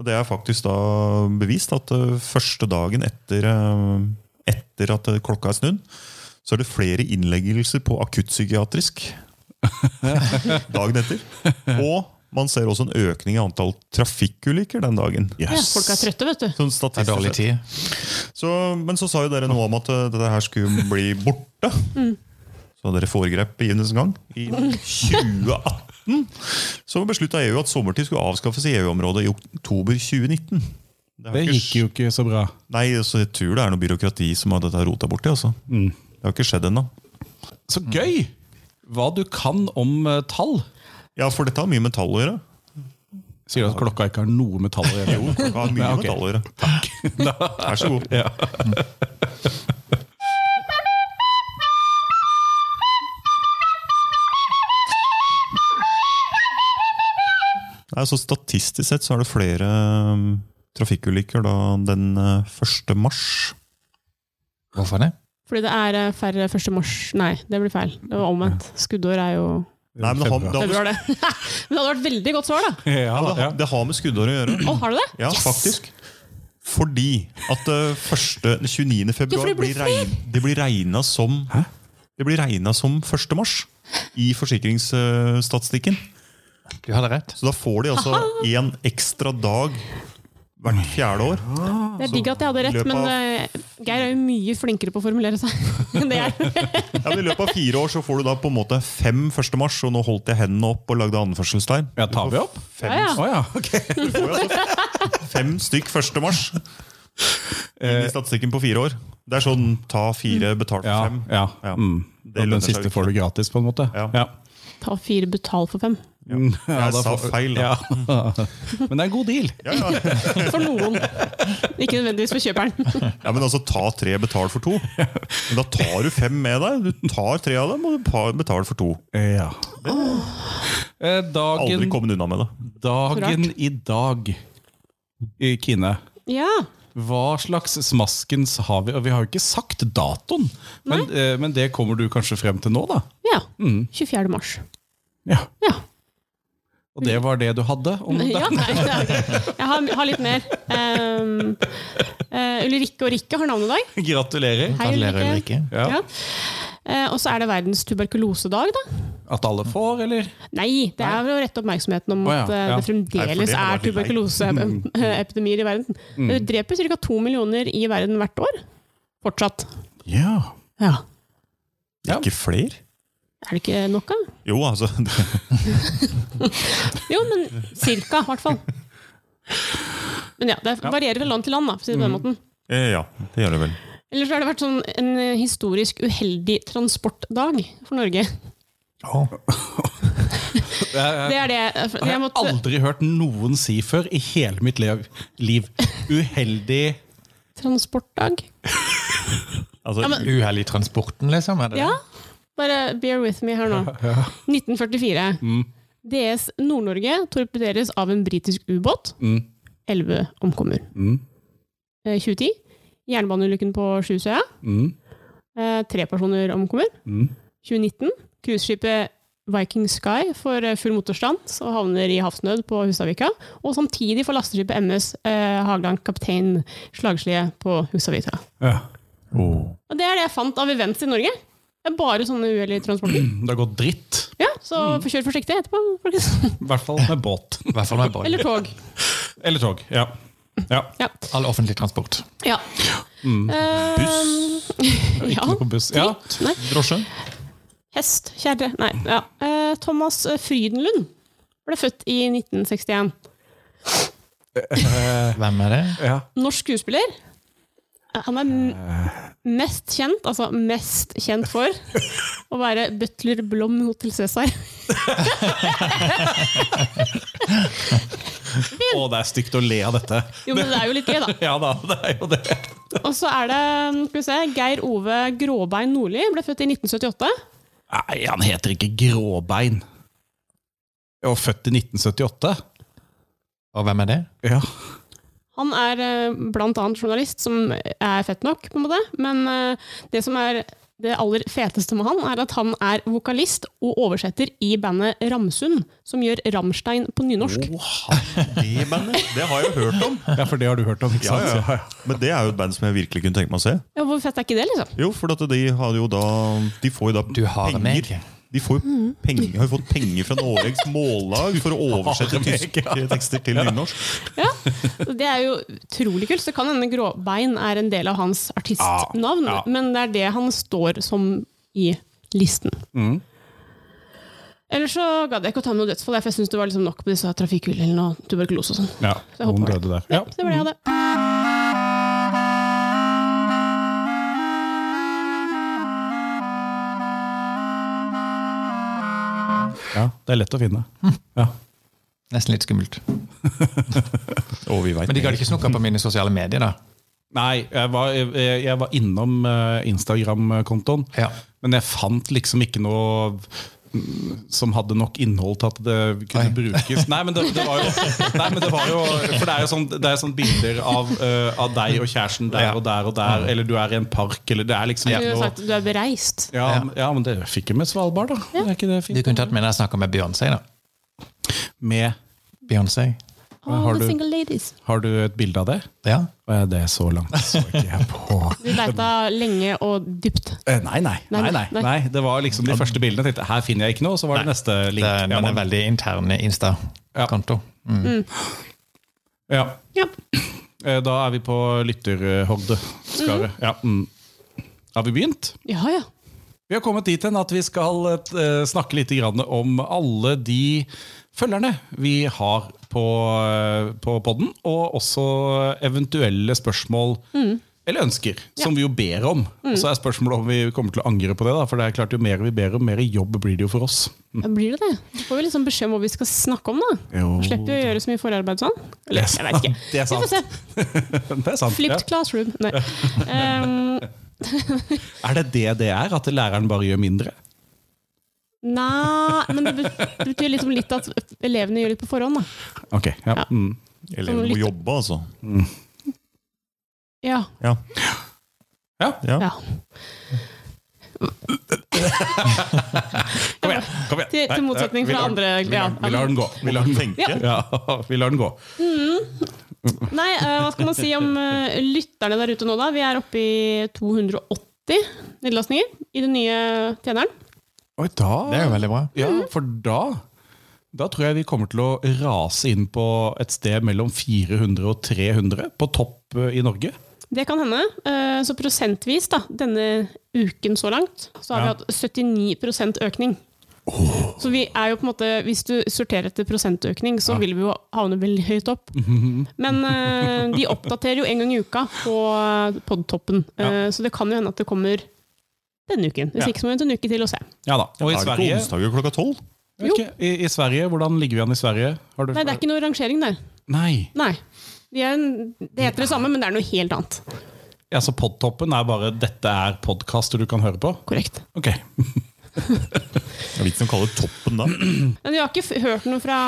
S1: Og det er faktisk da bevist at eh, første dagen etter, eh, etter at eh, klokka er snudd, så er det flere innleggelser på akuttpsykiatrisk dagen etter. Og man ser også en økning i antall trafikkulykker den dagen.
S3: Ja, folk er trøtte, vet du.
S1: Sånn
S4: Det er
S1: statistisk
S4: dårlig
S1: sett.
S4: tid.
S1: Så, men så sa jo dere noe om at eh, dette her skulle bli borte. Så dere foregrep begivenhetens gang. I 2018 så beslutta EU at sommertid skulle avskaffes i EU-området i oktober 2019. har
S2: Det
S1: ikke
S2: gikk jo ikke så bra.
S1: sk- Nei, så jeg tror det er noe byråkrati som har dette rota borti. Altså.
S2: Mm.
S1: Det har ikke skjedd ennå.
S2: Så gøy! Hva du kan om eh, tall.
S1: Ja, for dette har mye med tall å gjøre.
S2: Sier du at klokka ikke har noe med tall å
S1: [LAUGHS]
S2: gjøre?
S1: Jo, det har mye
S2: Ja, ok.
S1: med tall å gjøre. [LAUGHS] Vær så god. Nei, så Statistisk sett så er det flere um, trafikkulykker da den eh, 1. mars.
S4: Hvorfor det?
S3: Fordi det er eh, færre 1. mars Nei, det blir feil. Det var omvendt. Skuddår er jo
S1: Nei, men det har, det, har,
S3: februar, det. [LAUGHS] men det hadde vært veldig godt svar, da.
S2: Ja,
S1: det,
S2: Ah, ja.
S1: har, det har med skuddår å gjøre.
S3: Å, har du det?
S1: Ja, faktisk. Fordi at eh, første, 29.
S3: Ja, for
S1: februar
S3: det blir
S1: blir regn, det blir regna som Det blir regna som 1. mars i forsikringsstatistikken.
S4: Du hadde rett.
S1: Så da får de altså én ekstra dag hvert fjerde år.
S3: Det er digg at jeg hadde
S1: i
S3: rett,
S1: løpet
S3: men
S1: av-
S3: eh, Geir er jo mye flinkere på å formulere seg [LAUGHS] enn det jeg
S2: [LAUGHS]
S3: er.
S1: Ja, men I løpet av fire år så får du da på en måte fem 1. mars, og nå holdt jeg hendene opp og lagde anførselstegn.
S2: Ja, tar vi opp?
S1: Fem,
S3: Ja,
S2: Å
S3: ja.
S2: ja, ok.
S1: Du får jo altså fem stykk 1. mars inn i statistikken på fire år. Det er sånn ta fire, betal for
S2: Eh. Ja,
S1: fem.
S2: ja.
S1: Ja.
S2: Mm.
S1: Det
S2: Og
S1: lønner
S2: den
S1: seg
S2: siste
S1: ikke.
S2: får du gratis, på en måte.
S1: Ja.
S3: Ta fire, betal for fem.
S2: Mm, [LAUGHS] ja,
S1: Jeg
S2: da
S1: sa
S2: får-
S1: feil, da.
S2: Ja. [LAUGHS] Men det er en god deal.
S1: Ja, ja.
S3: For noen. Ikke nødvendigvis for kjøperen. [LAUGHS]
S1: ja, men altså ta tre, betal for to. Men da tar du fem med deg. Du tar tre av dem, og du pa- betaler for to.
S2: Ja. Eh,
S1: Aldri
S2: Dagen,
S1: kommet unna med det.
S2: dagen i dag, i Kine.
S3: Ja.
S2: Hva slags smaskens har vi? Og vi har jo ikke sagt datoen, men, eh, men det kommer du kanskje frem til nå, da?
S3: ja.
S2: Mm.
S3: 24. mars.
S2: Ja.
S3: Ja.
S2: Og det var det du hadde om det?
S3: [LAUGHS] ja nei, det er ok. Jeg har, har litt mer. Um, eh, Ulrikke og Rikke har navnedag.
S2: Gratulerer.
S3: Hei,
S4: Gratulerer,
S3: Ulrikke.
S4: Ulrikke.
S2: Ja.
S3: Ja. Eh, og så er det verdens tuberkulosedag, da.
S2: At alle får, eller?
S3: Nei, det er for å rette oppmerksomheten om
S2: Å, ja.
S3: at eh,
S2: Ja.
S3: det
S1: Nei,
S3: fremdeles
S1: for det hadde
S3: er
S1: vært litt
S3: tuberkuloseepidemier i verden. Det dreper ca. to millioner i verden hvert år. Fortsatt.
S2: Ja.
S3: Ja.
S2: Ja.
S1: Ikke flere?
S3: Er det ikke nok av?
S1: Jo, altså. [LAUGHS]
S3: Jo, men cirka, i hvert fall. Men ja, det varierer fra land til land, da, for å si det på den måten.
S1: Eh, Ja, det gjør det vel.
S3: Ellers har det vært sånn en eh, historisk uheldig transportdag for Norge. Det er det eh, for-
S2: Det har
S3: jeg
S2: jeg
S3: måtte,
S2: aldri hørt noen si før i hele mitt lev- liv. Uheldig
S3: Transportdag?
S1: Altså,
S3: Ja, men-
S4: Uhell i transporten, liksom? Er det
S3: Ja. Bare bear with me her nå. 1944.
S2: Mm,
S3: DS Nord-Norge torpederes av en britisk ubåt.
S2: Mm.
S3: 11 omkommer.
S2: Mm.
S3: Eh, 2010. Jernbaneulykken på Sjusøya.
S2: Mm.
S3: Eh, Tre personer omkommer.
S2: Mm.
S3: 2019. Cruiseskipet Viking Sky får eh, full motorstans og havner i havsnød på Hustadvika. Og samtidig får lasteskipet MS eh, Hagland kaptein slagsklie på Hustadvika.
S2: Ja.
S1: det- Åh.
S3: Og det er det jeg fant av events i Norge. Det er bare sånne uhell i transporten.
S2: Det har gått dritt.
S3: Ja, så kjør forsiktig etterpå, folkens.
S2: I hvert fall med båt.
S4: I hvert fall med båt.
S3: Eller tog.
S2: Eller tog. Ja. ja.
S3: Ja.
S4: All offentlig transport.
S3: ja. Eh,
S1: Buss.
S3: [LAUGHS] ja.
S2: Ikke noe på buss. Ja.
S3: Nei.
S1: Drosje?
S3: Hest, kjerre Nei. Ja. Eh, Thomas Frydenlund ble født i 1961.
S4: Hvem er det?
S2: ja.
S3: Norsk skuespiller. Eh, Han er m- mest kjent, altså mest kjent for å være butler Blom i Hotel Cæsar.
S2: Å, det er stygt å le av dette.
S3: Jo, men det er jo litt gøy, da.
S2: Ja da, det er jo det.
S3: Og så er det skal vi se, Geir Ove Gråbein Nordli. Ble født i 1978.
S2: Nei, han heter ikke Gråbein. Og født i 1978.
S4: Og hvem er det?
S2: Ja.
S3: Han er eh, blant annet journalist, som er fett nok, på en måte. Men eh, det som er det aller feteste med han, er at han er vokalist og oversetter i bandet Ramsund, som gjør Ramstein på nynorsk.
S1: Det bandet, det har jeg jo hørt om.
S2: ja, for det har du hørt om, ikke
S1: Ja,
S2: sant?
S1: ja. Men det er jo et band som jeg virkelig kunne tenke meg å se.
S3: Ja, hvor fett er ikke det, liksom?
S1: Jo, for at de har jo da De får jo da
S4: Du har
S1: penger.
S4: meg.
S1: De får jo penger, har jo fått penger fra Norges Mållag for å oversette
S2: har meg,
S1: tyske tekster til nynorsk.
S3: Ja, så Det er jo utrolig kult. Så kan hende Gråbein er en del av hans artistnavn,
S2: Ja, ja.
S3: men det er det han står som i listen.
S2: Mm.
S3: Ellers så gadd jeg ikke å ta med noe dødsfall, jeg, for jeg syns det var liksom nok med disse trafikkulykkene og tuberkulose og sånn.
S2: Ja,
S3: Så jeg hopper
S2: Noen
S3: over
S2: døde der.
S3: Ja, så det var det jeg hadde.
S2: Ja, det er lett å finne. Ja.
S4: Nesten litt skummelt.
S1: Og vi vet
S4: Men de gadd
S1: mer.
S4: ikke snukka på mine sosiale medier, da.
S2: Nei, jeg var, jeg, jeg var innom eh, Instagram-kontoen,
S4: Ja.
S2: men jeg fant liksom ikke noe mm, som hadde nok innhold til at det kunne
S4: Nei.
S2: brukes. Nei, men det, det var jo Nei, men det var jo For det er jo sånn, det er sånn bilder av, eh, av deg og kjæresten der
S4: Ja.
S2: og der og der, eller du er i en park, eller det er liksom
S4: Ja.
S3: Du
S2: ikke
S3: har
S2: noe
S3: sagt at du er bereist.
S2: ja, men- ja, men det fikk jeg med Svalbard, da. Er ikke det
S4: De
S2: fint?
S4: kunne tatt med når jeg snakka med Beyoncé, da.
S2: Med
S4: Beyoncé.
S3: All
S2: Har
S3: the
S2: du-
S3: single ladies.
S2: Har du et bilde av det?
S4: Ja.
S2: Eh, Det er så langt så ikke jeg på.
S3: Vi leita lenge og dypt.
S2: Eh, Nei nei, nei, nei,
S3: nei.
S2: nei. Det var liksom de første bildene. Jeg tenkte, her finner jeg ikke noe, så var det neste
S4: Det,
S2: link.
S4: den
S2: Ja,
S4: er
S2: man-
S4: veldig interne Insta-konto. Mm.
S2: ja.
S3: Ja.
S2: Eh, Da er vi på lytterhorde. Skare.
S3: Mhm.
S2: Ja. Mm. Har vi begynt?
S3: Ja, ja.
S2: Vi har kommet dit hen at vi skal eh, snakke litt grann om alle de følgerne vi har på, eh, på podden, og også eventuelle spørsmål
S3: Mhm.
S2: eller ønsker, som vi jo ber om. Og så er spørsmålet om vi kommer til å angre på det, da, for det er klart jo mer vi ber om, mer jobb blir det jo for oss. Mm.
S3: Da blir det det. Da får vi liksom beskjed om hva vi skal snakke om, da.
S2: Jo.
S3: Slipper vi å gjøre så mye forarbeid sånn. Eller, jeg vet ikke.
S2: Det er
S3: Vi
S2: [LAUGHS]
S3: får
S2: sant.
S3: se.
S2: Det er, sant.
S3: Flipped
S2: Ja.
S3: classroom.
S2: [LAUGHS]
S3: Nei. Ehm,
S2: er det det det er? At læreren bare gjør mindre?
S3: nei, men det bet- betyr liksom litt at elevene gjør litt på forhånd, da.
S2: Ok, ja.
S3: Ja.
S2: Mm.
S1: Elevene må jobbe, altså.
S3: Ja.
S1: Ja.
S2: Ja.
S3: ja.
S2: Kom igjen! kom igjen.
S3: Til, til motsetning
S2: Nei, vi
S3: fra
S2: lar-
S3: andre.
S2: Vi
S3: Ja.
S2: lar, vi lar den gå. Vi
S1: Må
S2: lar den gå.
S1: tenke.
S3: Ja.
S2: Ja, [LAUGHS] vi lar den gå.
S3: Mm. Nei, eh, hva skal man si om eh, lytterne der ute nå, da? Vi er oppe i 280 nedlastninger i den nye tjeneren.
S2: Oi, da Mm.
S4: Det er jo veldig bra.
S2: Ja, for da da tror jeg vi kommer til å rase inn på et sted mellom 400 og 300 på topp eh, i Norge.
S3: Det kan hende. Eh, Så prosentvis, da, denne uken så langt, så har
S2: Ja.
S3: vi hatt 79 økning. Så vi er jo på en måte, hvis du sorterer etter prosentøkning, så vil vi jo havne veldig høyt opp. Men eh, de oppdaterer jo en gang i uka på eh, podtoppen, Eh, så det kan jo hende at det kommer denne uken. Hvis
S2: Ja.
S3: ikke så må vi vente en uke til og se.
S2: Ja da, og i
S1: Er det ikke
S2: Sverige,
S1: onsdager klokka tolv?
S2: Jeg vet ikke, i, I Sverige, Hvordan ligger vi an i Sverige? Har du,
S3: Nei, det er ikke noe rangering der.
S2: Nei,
S3: Nei. De er en, det heter det samme, men det er noe helt annet.
S2: altså Podtoppen er bare 'dette er podkaster du kan høre på'?
S3: Korrekt.
S2: Ok,
S1: Jeg vet ikke om de kaller det toppen da.
S3: Men vi har ikke f- hørt noe fra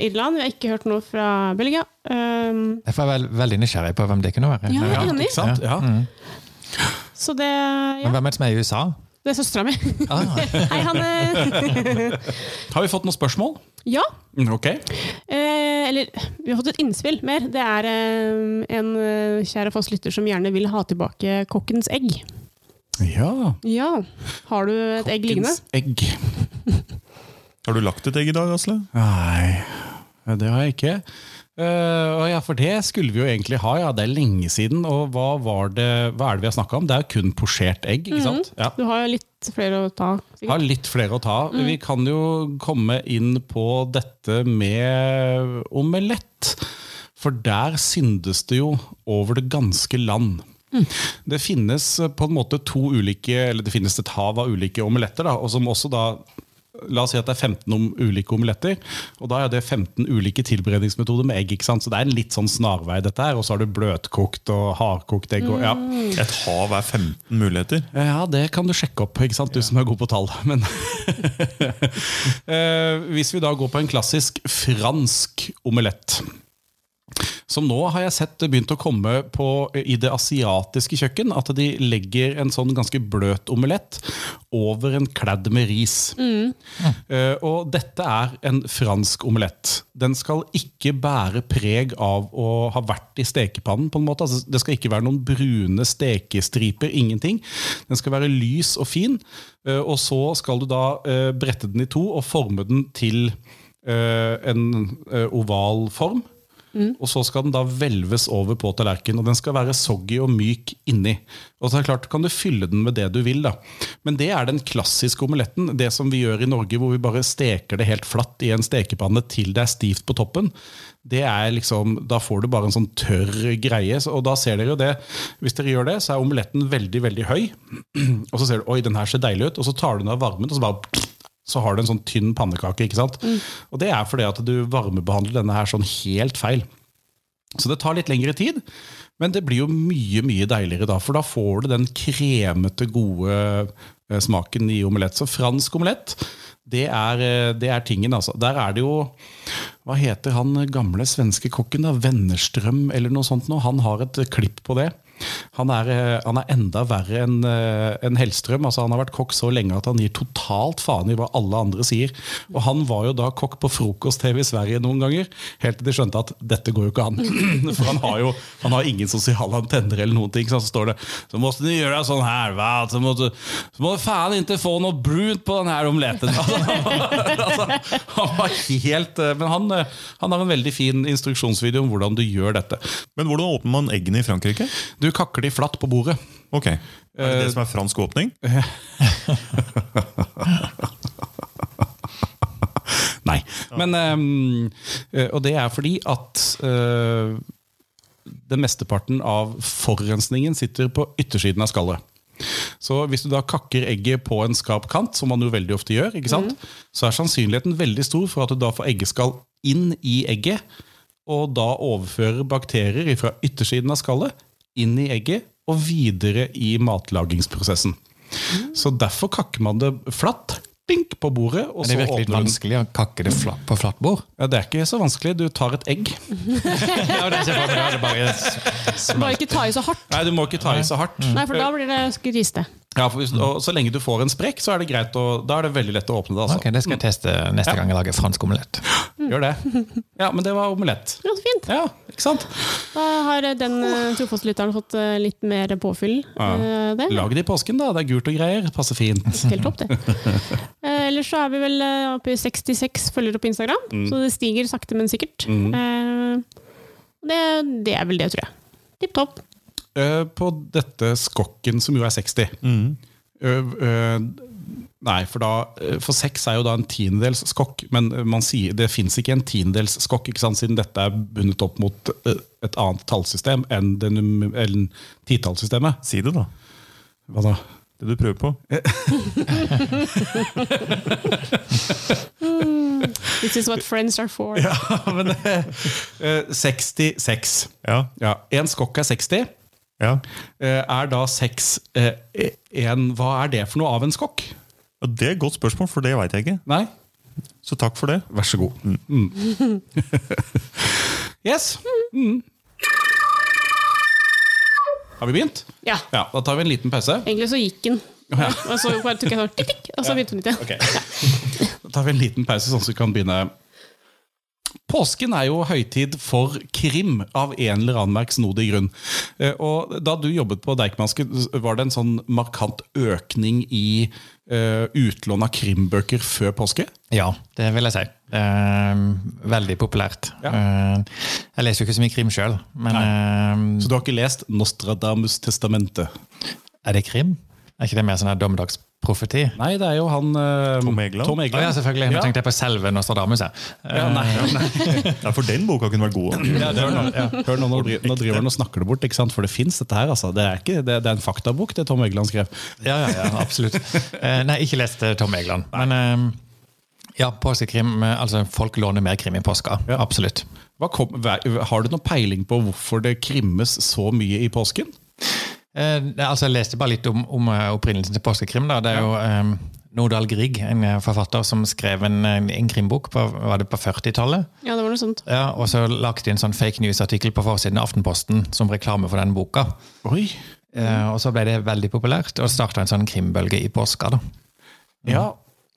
S3: Irland, vi har ikke hørt noe fra Belgia. Um,
S4: Derfor er jeg vel, veldig nysgjerrig på hvem det kunne være.
S3: Ja,
S2: ja,
S3: jeg er enig.
S2: ikke sant? Ja. Mm.
S3: så det
S4: Men
S3: Ja,
S4: hvem er det som er i USA?
S3: det er søstera mi.
S2: Ah.
S3: [LAUGHS] Hei, Hanne.
S2: Har vi fått noen spørsmål?
S3: Ja.
S2: Mm, Ok.
S3: Eh, eller vi har fått et innspill mer. Det er eh, en eh, kjære fast lytter som gjerne vil ha tilbake kokkens egg.
S2: Ja.
S3: Ja. Har du et egg liggende?
S2: Kokkens egg.
S1: Har du lagt et egg i dag, Asle?
S2: Nei, det har jeg ikke. Eh, og ja, For det skulle vi jo egentlig ha, ja. Det er lenge siden. Og hva, var det, hva er det vi har snakka om? Det er jo kun posjert egg, ikke sant? Ja.
S3: Du har jo litt flere å ta.
S2: Har
S3: sikkert.
S2: litt flere å ta av. Vi kan jo komme inn på dette med omelett. For der syndes det jo over det ganske land. Det finnes på en måte to ulike, eller det finnes et hav av ulike omeletter, da, og som også da La oss si at det er 15 om ulike omeletter, og da er det 15 ulike tilberedningsmetoder med egg. ikke sant? Så det er en litt sånn snarvei, dette her. Og så har du bløtkokt og hardkokt egg. og ja.
S1: Et hav er 15 muligheter.
S2: Ja, det kan du sjekke opp, ikke sant? du som er god på tall. [LAUGHS] Men Eh, hvis vi da går på en klassisk fransk omelett som nå har jeg sett det begynt å komme på i det asiatiske kjøkken. At de legger en sånn ganske bløt omelett over en kladd med ris. Eh, og dette er en fransk omelett. Den skal ikke bære preg av å ha vært i stekepannen. på en måte. Altså, det skal ikke være noen brune stekestriper. Ingenting. Den skal være lys og fin. eh, og så skal du da eh, brette den i to og forme den til eh, en eh, oval form. Og så skal den da hvelves over på tallerkenen. Og den skal være soggy og myk inni. Og så er det klart, kan du fylle den med det du vil, da. Men det er den klassiske omeletten. Det som vi gjør i Norge, hvor vi bare steker det helt flatt i en stekepanne til det er stivt på toppen. Det er liksom, Da får du bare en sånn tørr greie. så- Og da ser dere jo det. Hvis dere gjør det, så er omeletten veldig, veldig høy. Og så ser du oi, den her ser deilig ut. Og så tar du den av varmen, og så bare så har du en sånn tynn pannekake. ikke sant? Og det er fordi at du varmebehandler denne her sånn helt feil. Så det tar litt lengre tid, men det blir jo mye mye deiligere da, for da får du den kremete, gode eh, smaken i omelett. Så fransk omelett, det er, eh, det er tingen, altså. Der er det jo Hva heter han gamle svenske kokken, da? Wennerström eller noe sånt? Nå? Han har et klipp på det. Han er, eh, han er enda verre enn eh, enn Hellstrøm. Altså, han har vært kokk så lenge at han gir totalt faen i hva alle andre sier. Og han var jo da kokk på frokost-TV i Sverige noen ganger, helt til de skjønte at dette går jo ikke an. [CLEARS THROAT] For han har jo han har ingen sosiale antenner eller noen ting. Så, han står det Så måtte du gjøre sånn her, hva? Så må du, så må du faen ikke få noe brunt på den her omeletten. [LAUGHS] Altså, altså, han var helt eh, Men han, eh, han har en veldig fin instruksjonsvideo om hvordan du gjør dette.
S1: Men hvordan åpner man eggene i Frankrike?
S2: Du kakker de flatt på bordet.
S1: Ok, Er det det som er fransk åpning?
S2: Nei. Men, ehm, eh, og det er fordi at eh, den mesteparten av forurensningen sitter på yttersiden av skallet. Så hvis du da kakker egget på en skarp kant, som man jo veldig ofte gjør, ikke sant? så er sannsynligheten veldig stor for at du da får eggeskall inn i egget, og da overfører bakterier fra yttersiden av skallet inn i egget og videre i matlagingsprosessen. Så derfor kakker man det flatt, bink, på bordet, og
S4: Er det
S2: så
S4: virkelig
S2: åpner du
S4: vanskelig å kakke det fla- på flatt bord?
S2: ja, det er ikke så vanskelig. Du tar et egg.
S4: Ja, det er ikke det er bare s-
S3: Bare ikke ta i så hardt.
S2: Nei, du må ikke ta i så hardt.
S3: Nei, for da blir det grisete.
S2: Ja, for hvis, og så lenge du får en sprekk, så er det greit. å- da er det veldig lett å åpne det. Altså.
S4: Ok, Det skal jeg teste neste gang jeg lager fransk omelett.
S2: Gjør det. Ja, men det var omelett.
S3: Ja, så fint.
S2: Ja, ikke sant?
S3: Da har den eh, trofastlytteren fått eh, litt mer påfyll. eh, det.
S2: Lag det i påsken, da. Det er gult og greier. Passer fint.
S3: Helt topp, det. Eh, ellers så er vi vel eh, oppe i 66 følgere på Instagram, så det stiger sakte, men sikkert. Eh, det, det er vel det, tror jeg. Tipp topp.
S2: Eh, På dette skokken, som jo er 60 Ø- ø, Nei, for da eh, For seks er jo da en tiendedels skokk, men eh, man sier, det fins ikke en tiendedels skokk, ikke sant? siden dette er bundet opp mot eh, et annet tallsystem enn det num- eller titallssystemet.
S1: Si det, da.
S2: Hva da?
S1: Det du prøver på.
S3: This is what friends are for.
S2: [LAUGHS] Men, eh, eh, 66.
S1: Ja,
S2: Ja, En skokk er 60.
S1: ja.
S2: eh, Er da seks eh, en Hva er det for noe av en skokk?
S1: Ja, Det er et godt spørsmål, for det veit jeg ikke.
S2: Nei?
S1: Så takk for det. Mm.
S2: Vær så god. yes. Mm. Har vi begynt?
S3: Ja.
S2: Ja, Da tar vi en liten pause.
S3: Egentlig så gikk den. Og så bare tok jeg sånn tikk, tikk, og så begynte den igjen.
S2: Da tar vi en liten pause, sånn at vi kan begynne. Påsken er jo høytid for krim, av en eller annen merksnodig grunn. Eh, Og da du jobbet på Deichmanske, var det en sånn markant økning i eh, utlån av krimbøker før påske?
S4: Ja, det vil jeg si. Eh, veldig populært.
S2: Ja.
S4: Eh, jeg leser jo ikke så mye krim sjøl, men eh,
S2: Så du har ikke lest Nostradamus' testamente?
S4: er det krim? Er ikke det mer sånn her dommedagsprofeti?
S2: Nei, det er jo han eh,
S1: Tom Egeland?
S2: Tom
S4: Å ja, selvfølgelig. Nå
S2: Ja.
S4: tenkte jeg på selve Nostradamus. jeg. Eh,
S2: Ja, nei, nei.
S1: Ja, for den boka kunne vært god.
S2: Ja, det er noe- ja. Hør nå, nå, dri- nå driver han og snakker det bort, ikke sant? for det fins dette her. Altså. Det, er ikke, det, det er en faktabok, det Tom Egeland skrev.
S4: Ja, ja, ja absolutt. Eh, nei, ikke lest eh, Tom Egeland. Men eh, ja, påskekrim eh, Altså, folk låner mer krim i påska.
S2: Ja.
S4: Absolutt.
S2: Hva kom, hva- har du noen peiling på hvorfor det krimmes så mye i påsken?
S4: Eh, det- altså, jeg leste bare litt om, om eh, opprinnelsen til påskekrim. Da. Det er jo eh, Nordahl Grieg, en eh, forfatter som skrev en, en, en krimbok på, var det på 40-tallet.
S3: Ja, det var noe sånt.
S4: Ja, og så lagt inn sånn fake news-artikkel på forsiden av Aftenposten som reklame for den boka.
S2: Oi!
S4: Eh, og så ble det veldig populært, og starta en sånn krimbølge i påska. da.
S2: Ja.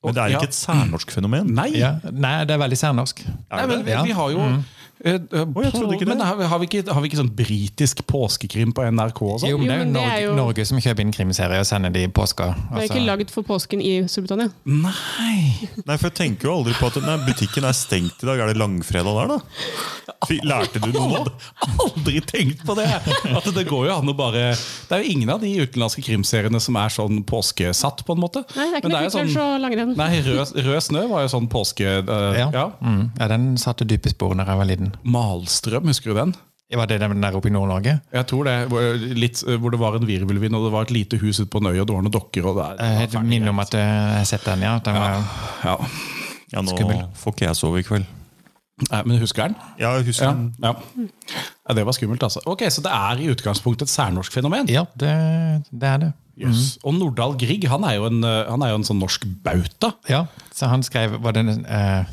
S1: Men det er ikke et særnorsk fenomen.
S2: Nei!
S4: Ja. Nei, det er veldig særnorsk.
S2: Nei, men vi,
S4: Ja.
S2: vi har jo eh, eh,
S1: jeg trodde ikke det.
S2: Men har, vi- har, vi ikke, har vi ikke sånn britisk påskekrim på NRK og sånn?
S4: Jo, men
S3: Jo,
S4: det er jo
S3: men det
S4: Norge,
S3: er jo-
S4: Norge som kjøper inn krimserier og sender de i påska.
S3: Det er
S4: Altså,
S3: ikke lagd for påsken i Storbritannia.
S2: Nei!
S1: Nei, for jeg tenker jo aldri på at nei, butikken er stengt i dag. Er det langfredag der, da? Fy, Lærte du noe nå?
S2: Aldri, aldri tenkt på det! At det går jo an å bare Det er jo ingen av de utenlandske krimseriene som er sånn påskesatt, på en måte.
S3: Nei, det er ikke
S2: Men
S3: noe
S2: jo sånn-
S3: kult og langrenn.
S2: Nei, rød, rød snø var jo sånn påske... eh,
S4: ja.
S2: ja.
S4: Mm. ja, den satte dype spor når jeg var liten.
S2: Malstrøm, husker du den?
S4: Var det den der oppe i Nord-Norge?
S2: Jeg tror det, hvor- litt, eh, Hvor det var en virvelvind, og det var et lite hus ute på en øy, og det var noen dokker og det er-
S4: Eh,
S2: det
S4: Jeg
S2: var ferdig.
S4: minner om at eh, jeg har sett den, ja. Den var,
S2: ja.
S1: Ja, nå
S4: Skummel.
S1: får ikke jeg sove i kveld.
S2: Nei, Men husker den?
S1: Ja, jeg
S2: Ja.
S1: husker den.
S2: ja. ja. Det var skummelt, altså. Ok, Så det er i utgangspunktet et særnorsk fenomen?
S4: ja, det, det er det.
S2: Yes. Og Nordahl Grieg han er jo en, eh, han er jo en sånn norsk bauta.
S4: Ja, så han skrev var det, en, eh,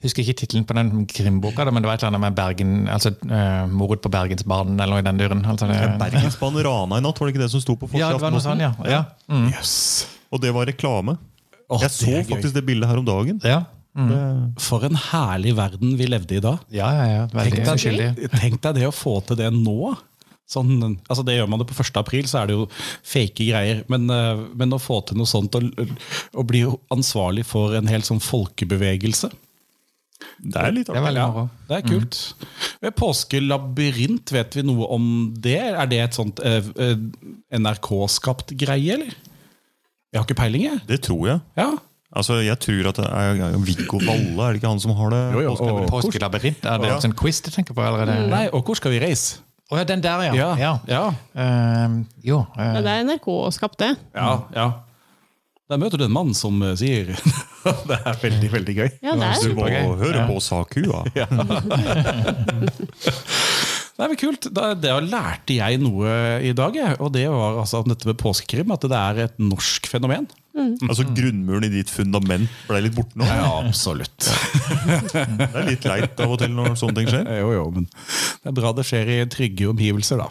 S4: husker ikke tittelen på den krimboka, da, men det var et eller annet med Bergen, altså eh, mordet på Bergensbanen eller noe i den duren. Altså, det,
S1: Bergensbanen rana i natt, var det ikke det som sto på
S4: ja,
S1: forsiden
S4: det var noe
S1: av Aftenposten?
S4: sånn, ja. ja. Mm.
S1: Og det var reklame.
S2: Åh,
S1: jeg så
S2: det er gøy.
S1: faktisk det bildet her om dagen.
S4: ja. Mm.
S2: For en herlig verden vi levde i da.
S4: Ja, ja, ja.
S2: Tenk
S4: Veldig uskyldig.
S2: deg, tenk deg det å få til det nå. Sånn, altså det gjør man det på 1. april, så er det jo fake greier. Men, eh, men å få til noe sånt og, og bli jo ansvarlig for en hel sånn folkebevegelse
S1: Det er litt artig.
S4: Det er
S1: Mm.
S4: veldig moro.
S2: Det er kult. Ved Påskelabyrint, vet vi noe om det? Er det et sånt eh, eh, NRK-skapt greie, eller? Jeg har ikke peiling, jeg.
S1: Det tror jeg.
S2: Ja.
S1: Altså, jeg tror at det er Viggo Valle, er det ikke han som har det?
S2: Jo, jo,
S1: Påskelabyrint?
S2: og-
S4: Påskelabyrint, er det
S1: Ja.
S4: en sånn quiz du tenker på? Eller er det?
S2: Nei, og hvor skal vi reise?
S4: Å ja, den der, Mm.
S2: Ja,
S4: ja.
S2: ja. ja,
S4: Eh, jo. eh,
S3: Men det er NRK skapt, det.
S2: ja, Der møter du en mann som eh, sier [LAUGHS] Det er veldig, veldig gøy.
S3: Ja, det er
S1: Du må
S4: Supergøy.
S1: høre på Sakua.
S2: Det er vel kult. Da, det lærte jeg noe i dag, jeg. og det var altså at dette med påskekrim. At det er et norsk fenomen.
S1: Altså Grunnmuren i ditt fundament ble litt borte nå.
S2: absolutt.
S1: Det er litt leit av og til når sånne ting skjer.
S2: Eh, Jo, jo, men det er bra det skjer i trygge omgivelser, da.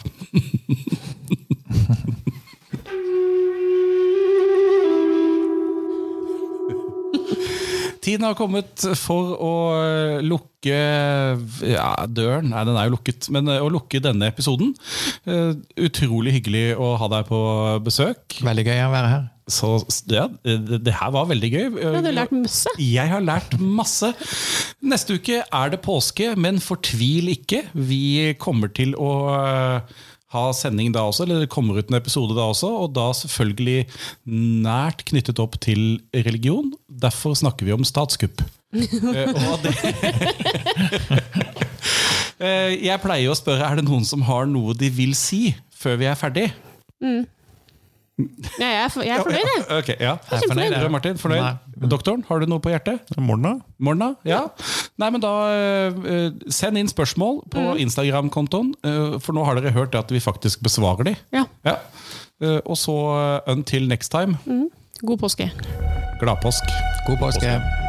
S2: Tiden har kommet for å eh, lukke ja, døren. Nei, den er jo lukket. Men eh, å lukke denne episoden. Eh, Utrolig hyggelig å ha deg på besøk.
S4: Veldig gøy å være her.
S2: Så ja, det, det her var veldig gøy.
S3: Ja, du har lært masse.
S2: Jeg har lært masse. Neste uke er det påske, men fortvil ikke. Vi kommer til å øh, ha sending da også, eller det kommer ut en episode da også, og da selvfølgelig nært knyttet opp til religion. Derfor snakker vi om statskupp. Eh, og det [LAUGHS] Eh, Jeg pleier å spørre er det noen som har noe de vil si før vi er ferdig.
S3: Ja, jeg er for- jeg er fornøyd, jeg.
S2: Ok, ja.
S4: Jeg er fornøyd, jeg.
S2: Martin, fornøyd? Doktoren, har du noe på hjertet?
S1: Morna.
S2: Morna, ja. Nei, men da eh, Send inn spørsmål på Instagram-kontoen, eh, for nå har dere hørt at vi faktisk besvarer de.
S3: Ja.
S2: Ja. Eh, og så eh, until next time,
S3: God påske.
S2: glad påsk.
S4: God påske.